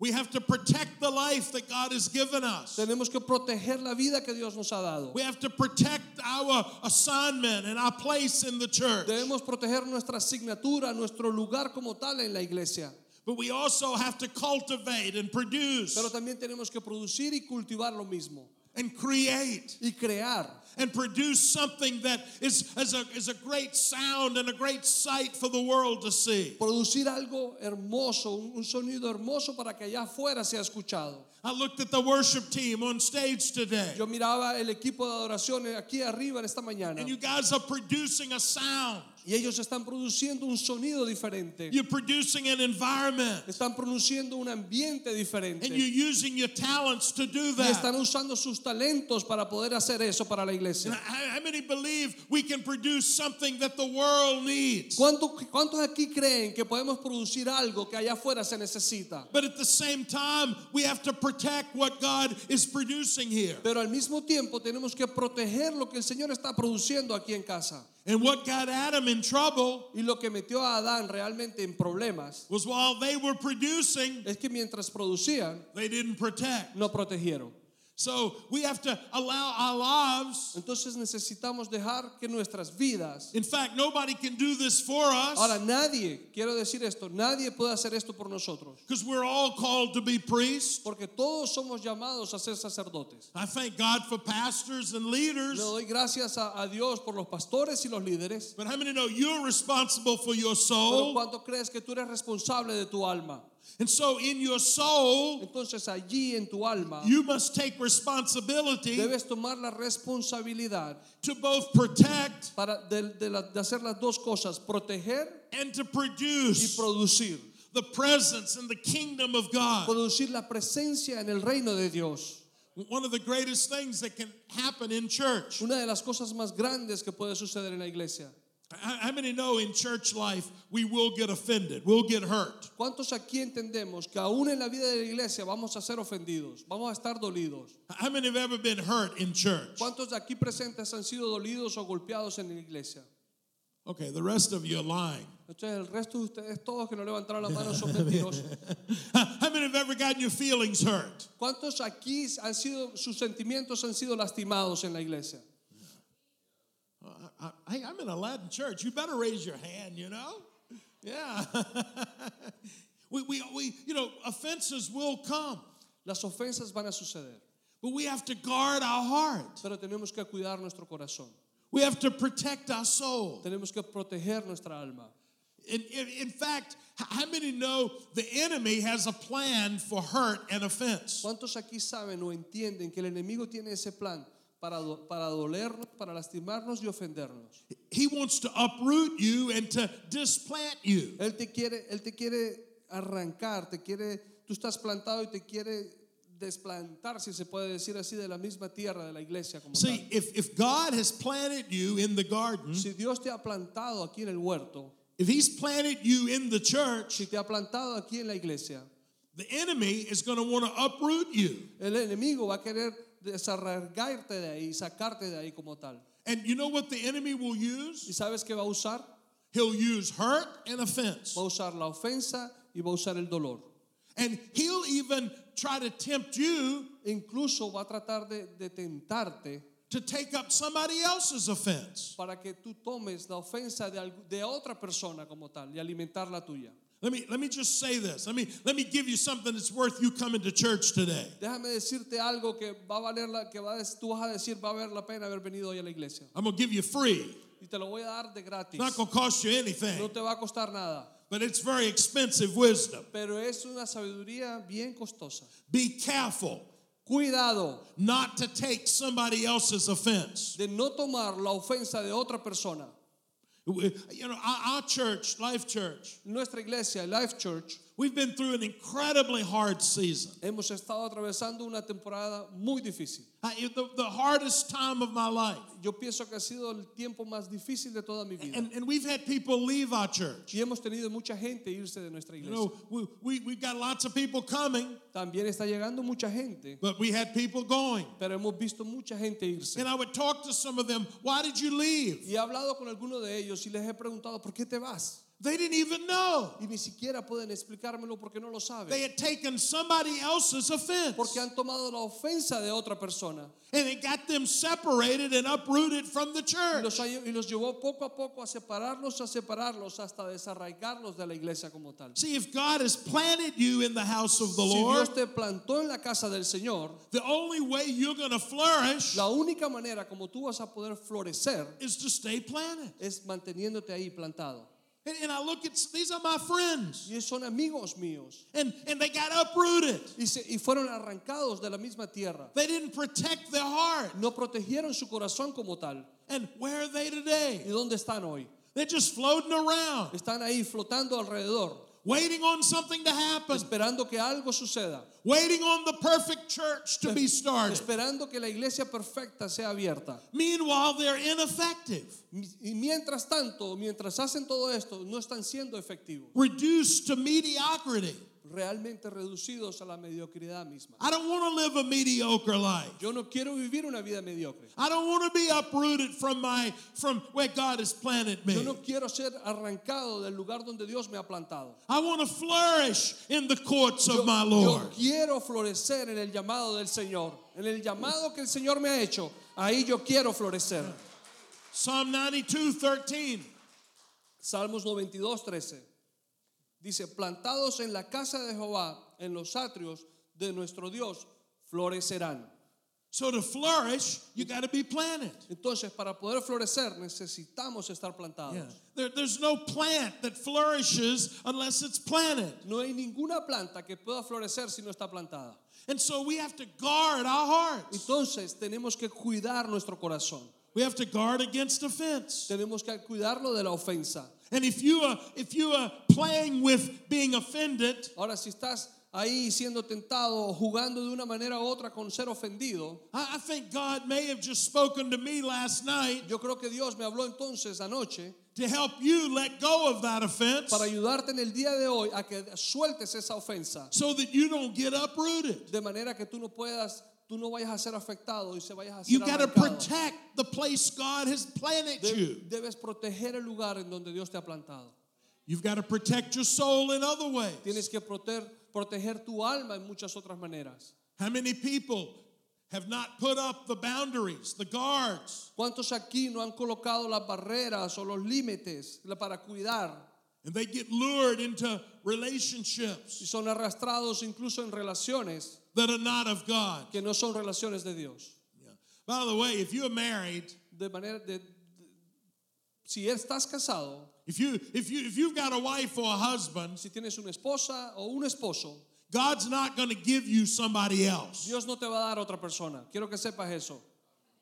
[SPEAKER 2] We have to protect the life that God has given us.
[SPEAKER 3] Tenemos que proteger la vida que Dios nos ha dado.
[SPEAKER 2] We have to protect our assignment and our place in the church.
[SPEAKER 3] Debemos proteger nuestra asignatura, nuestro lugar como tal en la iglesia.
[SPEAKER 2] But we also have to cultivate and produce
[SPEAKER 3] Pero también tenemos que producir y cultivar lo mismo
[SPEAKER 2] and create
[SPEAKER 3] y crear
[SPEAKER 2] and produce something that is, is, a, is a great sound and a great sight for the world to see.
[SPEAKER 3] producir algo hermoso, un, un sonido hermoso para que allá afuera sea escuchado.
[SPEAKER 2] I looked at the worship team on stage today,
[SPEAKER 3] Yo miraba el equipo de adoración aquí arriba en esta mañana
[SPEAKER 2] and you guys are producing a sound.
[SPEAKER 3] y ellos están produciendo un sonido diferente,
[SPEAKER 2] You're producing an environment,
[SPEAKER 3] están produciendo un ambiente diferente
[SPEAKER 2] and you're
[SPEAKER 3] y
[SPEAKER 2] using your talents to do that.
[SPEAKER 3] están usando sus talentos para poder hacer eso para la
[SPEAKER 2] And
[SPEAKER 3] iglesia.
[SPEAKER 2] how how many believe we can produce something that the world needs?
[SPEAKER 3] ¿Cuánto- ¿Cuántos aquí creen que podemos producir algo que allá afuera se necesita?
[SPEAKER 2] But at the same time, we have to protect what God is producing here.
[SPEAKER 3] Pero al mismo tiempo tenemos que proteger lo que el Señor está produciendo aquí en casa.
[SPEAKER 2] And what got Adam in trouble
[SPEAKER 3] Y lo que metió a Adán realmente en problemas
[SPEAKER 2] was while they were producing,
[SPEAKER 3] es que mientras producían,
[SPEAKER 2] they didn't protect.
[SPEAKER 3] no protegieron.
[SPEAKER 2] So we have to allow our lives.
[SPEAKER 3] Entonces necesitamos dejar que nuestras vidas...
[SPEAKER 2] In fact, nobody can do this for
[SPEAKER 3] Ahora,
[SPEAKER 2] us
[SPEAKER 3] nadie, quiero decir esto, nadie puede hacer esto por nosotros.
[SPEAKER 2] because we're all called to be priests.
[SPEAKER 3] Porque todos somos llamados a ser sacerdotes.
[SPEAKER 2] I thank God for pastors and
[SPEAKER 3] Le
[SPEAKER 2] leaders.
[SPEAKER 3] doy gracias a, a Dios por los pastores y los líderes.
[SPEAKER 2] But how many know you're responsible for your
[SPEAKER 3] Pero
[SPEAKER 2] soul?
[SPEAKER 3] cuando crees que tú eres responsable de tu alma,
[SPEAKER 2] And so in your soul,
[SPEAKER 3] entonces allí en tu alma
[SPEAKER 2] you must take responsibility
[SPEAKER 3] debes tomar la responsabilidad
[SPEAKER 2] to both protect
[SPEAKER 3] para de, de la- de hacer las dos cosas, proteger
[SPEAKER 2] and to
[SPEAKER 3] y
[SPEAKER 2] produce
[SPEAKER 3] producir.
[SPEAKER 2] the presence and the kingdom of God.
[SPEAKER 3] Producir la presencia en el reino de Dios.
[SPEAKER 2] One of the greatest things that can happen in church.
[SPEAKER 3] Una de las cosas más grandes que puede suceder en la iglesia.
[SPEAKER 2] How how many know in church life we will get offended, we'll get hurt?
[SPEAKER 3] ¿Cuántos aquí entendemos que aún en la vida de la iglesia vamos a ser ofendidos? Vamos a estar dolidos.
[SPEAKER 2] How many have ever been hurt in church?
[SPEAKER 3] ¿Cuántos de aquí presentes han sido dolidos o golpeados en la iglesia?
[SPEAKER 2] Okay, the rest of you are lying.
[SPEAKER 3] Entonces el resto de ustedes, todos que no levantaron la mano, son mentirosos.
[SPEAKER 2] How many have ever gotten your feelings hurt?
[SPEAKER 3] ¿Cuántos aquí han sido, sus sentimientos han sido lastimados en la iglesia?
[SPEAKER 2] I, I, Uh, I'm in a Latin church. You better raise your hand, you know? Yeah. we, we, we, you know, offenses will come,
[SPEAKER 3] Las ofensas van a suceder,
[SPEAKER 2] but we have to guard our heart.
[SPEAKER 3] pero tenemos que cuidar nuestro corazón.
[SPEAKER 2] We have to protect our soul.
[SPEAKER 3] Tenemos que proteger nuestra alma.
[SPEAKER 2] In, in, in fact, h- how many know the enemy has a plan for hurt and offense?
[SPEAKER 3] ¿Cuántos aquí saben o entienden que el enemigo tiene ese plan para, do- para dolernos, para lastimarnos y ofendernos?
[SPEAKER 2] He wants to uproot you and to displant you.
[SPEAKER 3] Él te quiere, él te quiere arrancar, te quiere, tú estás plantado y te quiere desplantar, si se puede decir así, de la misma tierra, de la iglesia. Como
[SPEAKER 2] See, if, if God has planted you in the garden,
[SPEAKER 3] tal. Si Dios te ha plantado aquí en el huerto,
[SPEAKER 2] if He's planted you in the church,
[SPEAKER 3] si te ha plantado aquí en la iglesia,
[SPEAKER 2] the enemy is going to want to uproot you.
[SPEAKER 3] el enemigo va a querer desarraigarte de ahí, sacarte de ahí como tal.
[SPEAKER 2] And you know what the enemy will
[SPEAKER 3] ¿Y
[SPEAKER 2] use?
[SPEAKER 3] sabes qué va a usar?
[SPEAKER 2] He'll use hurt and offense.
[SPEAKER 3] Va a usar la ofensa y va a usar el dolor.
[SPEAKER 2] And he'll even try to tempt you
[SPEAKER 3] Incluso va a tratar de, de tentarte
[SPEAKER 2] to take up somebody else's offense.
[SPEAKER 3] para que tú tomes la ofensa de, algu- de otra persona como tal y alimentar la tuya.
[SPEAKER 2] Let me let me just say this. Let me let me give you something that's worth you coming to church today.
[SPEAKER 3] Déjame decirte algo que va a valer la que va a des- tú vas a decir va a valer la pena haber venido hoy a la iglesia
[SPEAKER 2] I'm gonna give you free.
[SPEAKER 3] y te lo voy a dar de gratis.
[SPEAKER 2] It's not gonna cost you
[SPEAKER 3] No
[SPEAKER 2] anything,
[SPEAKER 3] te va a costar nada,
[SPEAKER 2] but it's very expensive wisdom.
[SPEAKER 3] pero es una sabiduría bien costosa.
[SPEAKER 2] Be careful
[SPEAKER 3] Cuidado
[SPEAKER 2] not to take somebody else's offense.
[SPEAKER 3] de no tomar la ofensa de otra persona.
[SPEAKER 2] You know, our, our church, Life Church,
[SPEAKER 3] Nuestra iglesia, Life Church,
[SPEAKER 2] we've been through an incredibly hard season.
[SPEAKER 3] hemos estado atravesando una temporada muy difícil.
[SPEAKER 2] I, it- the, the hardest time of my life.
[SPEAKER 3] Yo pienso que ha sido el tiempo más difícil de toda mi vida.
[SPEAKER 2] And, and we've had people leave our church.
[SPEAKER 3] Y hemos tenido mucha gente irse de nuestra
[SPEAKER 2] You
[SPEAKER 3] iglesia.
[SPEAKER 2] know, we, we, we've got lots of people coming,
[SPEAKER 3] También está llegando mucha gente,
[SPEAKER 2] but we had people going.
[SPEAKER 3] pero hemos visto mucha gente irse.
[SPEAKER 2] And I would talk to some of them, why did you leave?
[SPEAKER 3] Y he hablado con algunos de ellos y les he preguntado, ¿por qué te vas?
[SPEAKER 2] They didn't even know.
[SPEAKER 3] Y ni siquiera pueden explicármelo porque no lo
[SPEAKER 2] They
[SPEAKER 3] saben.
[SPEAKER 2] had taken somebody else's offense.
[SPEAKER 3] Porque han tomado la ofensa de otra persona.
[SPEAKER 2] And it got them separated and uprooted from the
[SPEAKER 3] Y los,
[SPEAKER 2] church.
[SPEAKER 3] ha- y los llevó poco a poco a separarlos, a separarlos, hasta desarraigarlos de la iglesia como tal.
[SPEAKER 2] See, if God has planted you in the house of the
[SPEAKER 3] Si
[SPEAKER 2] Lord,
[SPEAKER 3] Dios te plantó en la casa del Señor,
[SPEAKER 2] the only way you're going to flourish
[SPEAKER 3] la única manera como tú vas a poder florecer
[SPEAKER 2] is to stay planted.
[SPEAKER 3] es manteniéndote ahí plantado.
[SPEAKER 2] And, and I look at, s- these are my friends.
[SPEAKER 3] Y son amigos míos.
[SPEAKER 2] and, and they got uprooted.
[SPEAKER 3] Y, se- y fueron arrancados de la misma tierra.
[SPEAKER 2] They didn't protect their heart.
[SPEAKER 3] No protegieron su corazón como tal.
[SPEAKER 2] And where are they
[SPEAKER 3] ¿Y
[SPEAKER 2] today?
[SPEAKER 3] dónde están hoy?
[SPEAKER 2] They're just floating around,
[SPEAKER 3] Están ahí flotando alrededor,
[SPEAKER 2] waiting on something to happen,
[SPEAKER 3] esperando que algo suceda,
[SPEAKER 2] waiting on the perfect church to be started.
[SPEAKER 3] esperando que la iglesia perfecta sea abierta.
[SPEAKER 2] Meanwhile, they're ineffective,
[SPEAKER 3] Y mientras tanto, mientras hacen todo esto, no están siendo efectivos,
[SPEAKER 2] reduced to mediocrity.
[SPEAKER 3] realmente reducidos a la mediocridad misma.
[SPEAKER 2] I don't want to live a mediocre life.
[SPEAKER 3] Yo no quiero vivir una vida mediocre.
[SPEAKER 2] I don't want to be uprooted from my from where God has planted
[SPEAKER 3] Yo
[SPEAKER 2] me.
[SPEAKER 3] no quiero ser arrancado del lugar donde Dios me ha plantado.
[SPEAKER 2] I want to flourish in the courts
[SPEAKER 3] Yo,
[SPEAKER 2] of my
[SPEAKER 3] yo
[SPEAKER 2] Lord.
[SPEAKER 3] quiero florecer en el llamado del Señor, en el llamado que el Señor me ha hecho. Ahí yo quiero florecer.
[SPEAKER 2] Psalm 92, 13.
[SPEAKER 3] Salmos 92, 13. Dice, plantados en la casa de Jehová, en los atrios de nuestro Dios, florecerán.
[SPEAKER 2] So to flourish, you got to be planted.
[SPEAKER 3] Entonces, para poder florecer necesitamos estar plantados.
[SPEAKER 2] There, there's no plant that flourishes unless it's planted.
[SPEAKER 3] No hay ninguna planta que pueda florecer si no está plantada.
[SPEAKER 2] And so we have to guard our hearts.
[SPEAKER 3] Entonces, tenemos que cuidar nuestro corazón.
[SPEAKER 2] We have to guard against offense.
[SPEAKER 3] Tenemos que cuidarlo de la ofensa.
[SPEAKER 2] And if you are if you are playing with being offended,
[SPEAKER 3] Ahora, si estás ahí siendo tentado o jugando de una manera u otra con ser ofendido,
[SPEAKER 2] I, I think God may have just spoken to me last night
[SPEAKER 3] yo creo que Dios me habló entonces anoche
[SPEAKER 2] to help you let go of that offense
[SPEAKER 3] para ayudarte en el día de hoy a que sueltes esa ofensa
[SPEAKER 2] so that you don't get uprooted.
[SPEAKER 3] de manera que tú no puedas tú no vayas a ser afectado y se vayas a ser
[SPEAKER 2] You got to
[SPEAKER 3] arrancado.
[SPEAKER 2] protect the place God has planted
[SPEAKER 3] Deb-
[SPEAKER 2] you.
[SPEAKER 3] debes proteger el lugar en donde Dios te ha plantado.
[SPEAKER 2] You've got to protect your soul in other ways.
[SPEAKER 3] Tienes que proter- proteger tu alma en muchas otras maneras.
[SPEAKER 2] How many people have not put up the boundaries, the guards,
[SPEAKER 3] ¿Cuántos aquí no han colocado las barreras o los límites la- para cuidar
[SPEAKER 2] and they get lured into
[SPEAKER 3] y
[SPEAKER 2] relationships
[SPEAKER 3] son arrastrados incluso en relaciones
[SPEAKER 2] that are not of God?
[SPEAKER 3] que no son relaciones de Dios?
[SPEAKER 2] Yeah. By the way, if you're married,
[SPEAKER 3] De manera de, de- si estás casado,
[SPEAKER 2] if you if you if you've got a wife or a husband,
[SPEAKER 3] si tienes una esposa o un esposo,
[SPEAKER 2] God's not going to give you somebody else.
[SPEAKER 3] Dios no te va a dar otra persona. Quiero que sepas eso.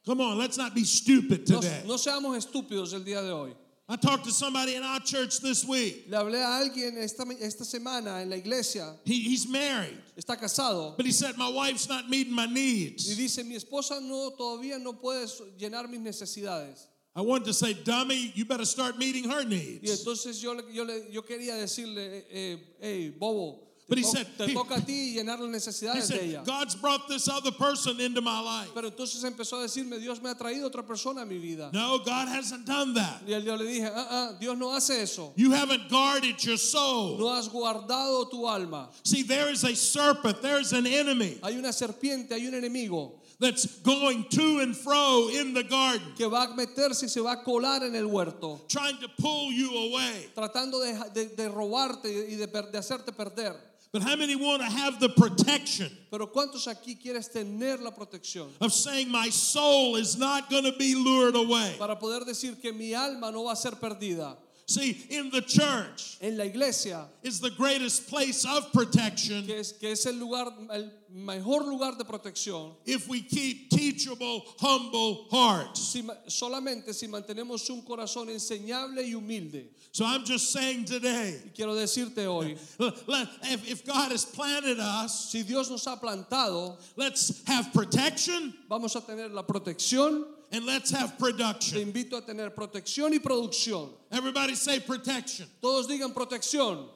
[SPEAKER 2] Come on, let's not be stupid
[SPEAKER 3] No,
[SPEAKER 2] today.
[SPEAKER 3] no seamos estúpidos el día de hoy.
[SPEAKER 2] I talked to somebody in our church this week.
[SPEAKER 3] Le hablé a alguien esta, esta semana en la iglesia,
[SPEAKER 2] He, he's married,
[SPEAKER 3] está casado,
[SPEAKER 2] but he said, My wife's not meeting my
[SPEAKER 3] y
[SPEAKER 2] needs.
[SPEAKER 3] dice, mi esposa no, todavía no puede so- llenar mis necesidades.
[SPEAKER 2] I wanted to say, Dummy, you better start meeting her
[SPEAKER 3] Y
[SPEAKER 2] needs.
[SPEAKER 3] entonces yo, le- yo, le- yo quería decirle, eh, eh, hey, bobo,
[SPEAKER 2] But
[SPEAKER 3] te,
[SPEAKER 2] he
[SPEAKER 3] to-
[SPEAKER 2] said-
[SPEAKER 3] te
[SPEAKER 2] he-
[SPEAKER 3] toca a ti llenar las
[SPEAKER 2] He
[SPEAKER 3] necesidades de ella.
[SPEAKER 2] said, God's brought this other person into my life.
[SPEAKER 3] Pero entonces empezó a decirme, Dios me ha traído otra persona a mi vida.
[SPEAKER 2] No, God hasn't done that.
[SPEAKER 3] Y yo le dije, ah, ah, Dios no hace eso.
[SPEAKER 2] You haven't guarded your soul.
[SPEAKER 3] No has guardado tu alma.
[SPEAKER 2] See, there is a serpent, there's an enemy
[SPEAKER 3] Hay una serpiente, hay un enemigo
[SPEAKER 2] that's going to and fro in the garden,
[SPEAKER 3] que va a meterse y se va a colar en el huerto,
[SPEAKER 2] trying to pull you away.
[SPEAKER 3] tratando de, de- de robarte y de, per- de hacerte perder.
[SPEAKER 2] But how many want to have the protection
[SPEAKER 3] Pero ¿cuántos aquí quieres tener la protección?
[SPEAKER 2] of saying, My soul is not going to be lured away?
[SPEAKER 3] Para poder decir que mi alma no va a ser perdida.
[SPEAKER 2] See, in the church
[SPEAKER 3] En la iglesia,
[SPEAKER 2] is the greatest place of protection
[SPEAKER 3] que es, que es el lugar, el mejor lugar de protección,
[SPEAKER 2] if we keep teachable, humble hearts.
[SPEAKER 3] si ma- solamente si mantenemos un corazón enseñable y humilde.
[SPEAKER 2] So I'm just saying today,
[SPEAKER 3] Y quiero decirte hoy,
[SPEAKER 2] l- let- if if God has planted us,
[SPEAKER 3] si Dios nos ha plantado,
[SPEAKER 2] let's have protection
[SPEAKER 3] vamos a tener la protección.
[SPEAKER 2] and let's have
[SPEAKER 3] Te
[SPEAKER 2] production.
[SPEAKER 3] invito a tener protección y producción.
[SPEAKER 2] Everybody say protection.
[SPEAKER 3] Todos digan protección.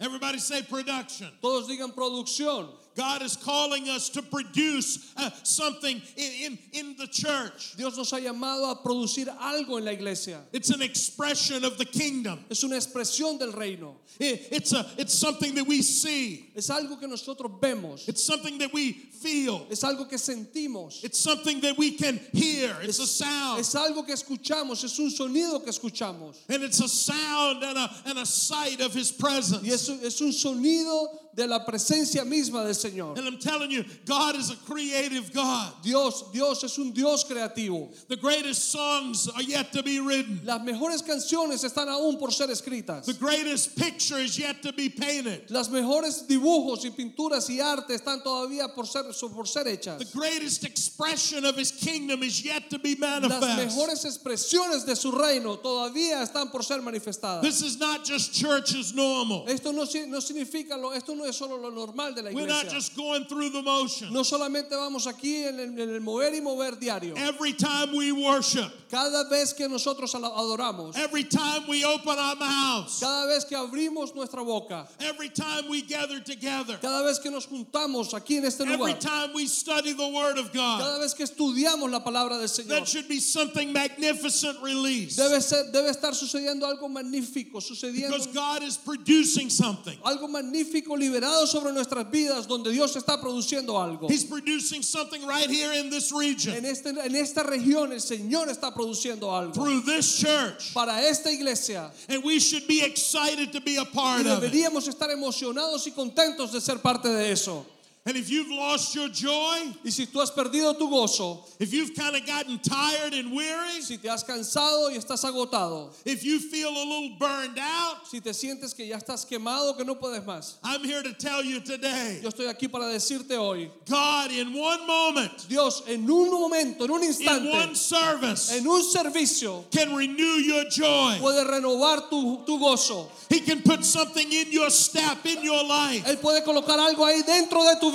[SPEAKER 2] Everybody say production.
[SPEAKER 3] Todos digan producción.
[SPEAKER 2] God is calling us to produce uh, something in, in, in the church.
[SPEAKER 3] Dios nos ha llamado a producir algo en la iglesia.
[SPEAKER 2] It's an expression of the kingdom.
[SPEAKER 3] Es una expresión del reino.
[SPEAKER 2] It- it's, a, it's something that we see.
[SPEAKER 3] Es algo que nosotros vemos.
[SPEAKER 2] It's something that we feel.
[SPEAKER 3] Es algo que sentimos.
[SPEAKER 2] It's something that we can hear. It's a sound.
[SPEAKER 3] Es algo que escuchamos. Es un sonido que escuchamos.
[SPEAKER 2] And it's a sound and a, and a sight of his
[SPEAKER 3] Y
[SPEAKER 2] presence.
[SPEAKER 3] es, es un sonido de la presencia misma del Señor.
[SPEAKER 2] And I'm telling you, God is a creative God.
[SPEAKER 3] Dios, Dios es un Dios creativo.
[SPEAKER 2] The greatest songs are yet to be written.
[SPEAKER 3] Las mejores canciones están aún por ser escritas.
[SPEAKER 2] The greatest picture is yet to be painted.
[SPEAKER 3] Las mejores dibujos y pinturas y arte están todavía por ser, por ser hechas.
[SPEAKER 2] The greatest expression of his kingdom is yet to be
[SPEAKER 3] Las
[SPEAKER 2] manifest.
[SPEAKER 3] mejores expresiones de su reino todavía están por ser manifestadas.
[SPEAKER 2] This is not just church as normal.
[SPEAKER 3] Esto no, si- no significa lo, esto no es solo lo normal de la
[SPEAKER 2] We're not
[SPEAKER 3] iglesia.
[SPEAKER 2] just going through the motions.
[SPEAKER 3] No solamente vamos aquí en el, en el mover y mover diario.
[SPEAKER 2] Every time we worship,
[SPEAKER 3] Cada vez que nosotros ala- adoramos,
[SPEAKER 2] every time we open our mouths,
[SPEAKER 3] cada vez que abrimos nuestra boca,
[SPEAKER 2] every time we gather together,
[SPEAKER 3] cada vez que nos juntamos aquí en este
[SPEAKER 2] every
[SPEAKER 3] lugar,
[SPEAKER 2] time we study the Word of
[SPEAKER 3] cada
[SPEAKER 2] God,
[SPEAKER 3] vez que estudiamos la palabra del Señor,
[SPEAKER 2] that should be something magnificent released
[SPEAKER 3] debe, ser, debe estar sucediendo algo magnífico, sucediendo
[SPEAKER 2] because God is producing something.
[SPEAKER 3] algo magnífico liberado sobre nuestras vidas donde Dios está produciendo algo.
[SPEAKER 2] He's producing something right here in this region
[SPEAKER 3] En, este- en esta región el Señor está produciendo algo
[SPEAKER 2] through this church,
[SPEAKER 3] para esta iglesia.
[SPEAKER 2] and we should be excited to be a
[SPEAKER 3] Y
[SPEAKER 2] part of it.
[SPEAKER 3] deberíamos estar emocionados y contentos de ser parte de eso.
[SPEAKER 2] And if you've lost your joy,
[SPEAKER 3] Y si tú has perdido tu gozo,
[SPEAKER 2] if you've kind of gotten tired and weary,
[SPEAKER 3] si te has cansado y estás agotado,
[SPEAKER 2] if you feel a little burned out,
[SPEAKER 3] si te sientes que ya estás quemado, que no puedes más,
[SPEAKER 2] I'm here to tell you today
[SPEAKER 3] yo estoy aquí para decirte hoy,
[SPEAKER 2] God, in one moment,
[SPEAKER 3] Dios en un momento, en un
[SPEAKER 2] in one
[SPEAKER 3] instante,
[SPEAKER 2] service,
[SPEAKER 3] en un servicio,
[SPEAKER 2] can renew your joy.
[SPEAKER 3] puede renovar tu, tu gozo.
[SPEAKER 2] He can put something in your step, in your life,
[SPEAKER 3] Él puede colocar algo ahí dentro de tu vida.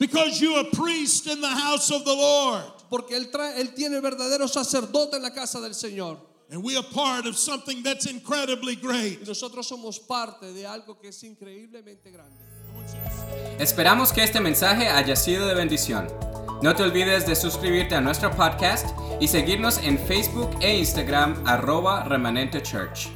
[SPEAKER 2] because you're a priest in the house of the Lord.
[SPEAKER 3] Porque él, trae- él tiene el verdadero sacerdote en la casa del Señor.
[SPEAKER 2] And we are part of something that's incredibly
[SPEAKER 3] Y
[SPEAKER 2] great.
[SPEAKER 3] nosotros somos parte de algo que es increíblemente grande.
[SPEAKER 1] Esperamos que este mensaje haya sido de bendición. No te olvides de suscribirte a nuestro podcast y seguirnos en Facebook e Instagram arroba remanente church.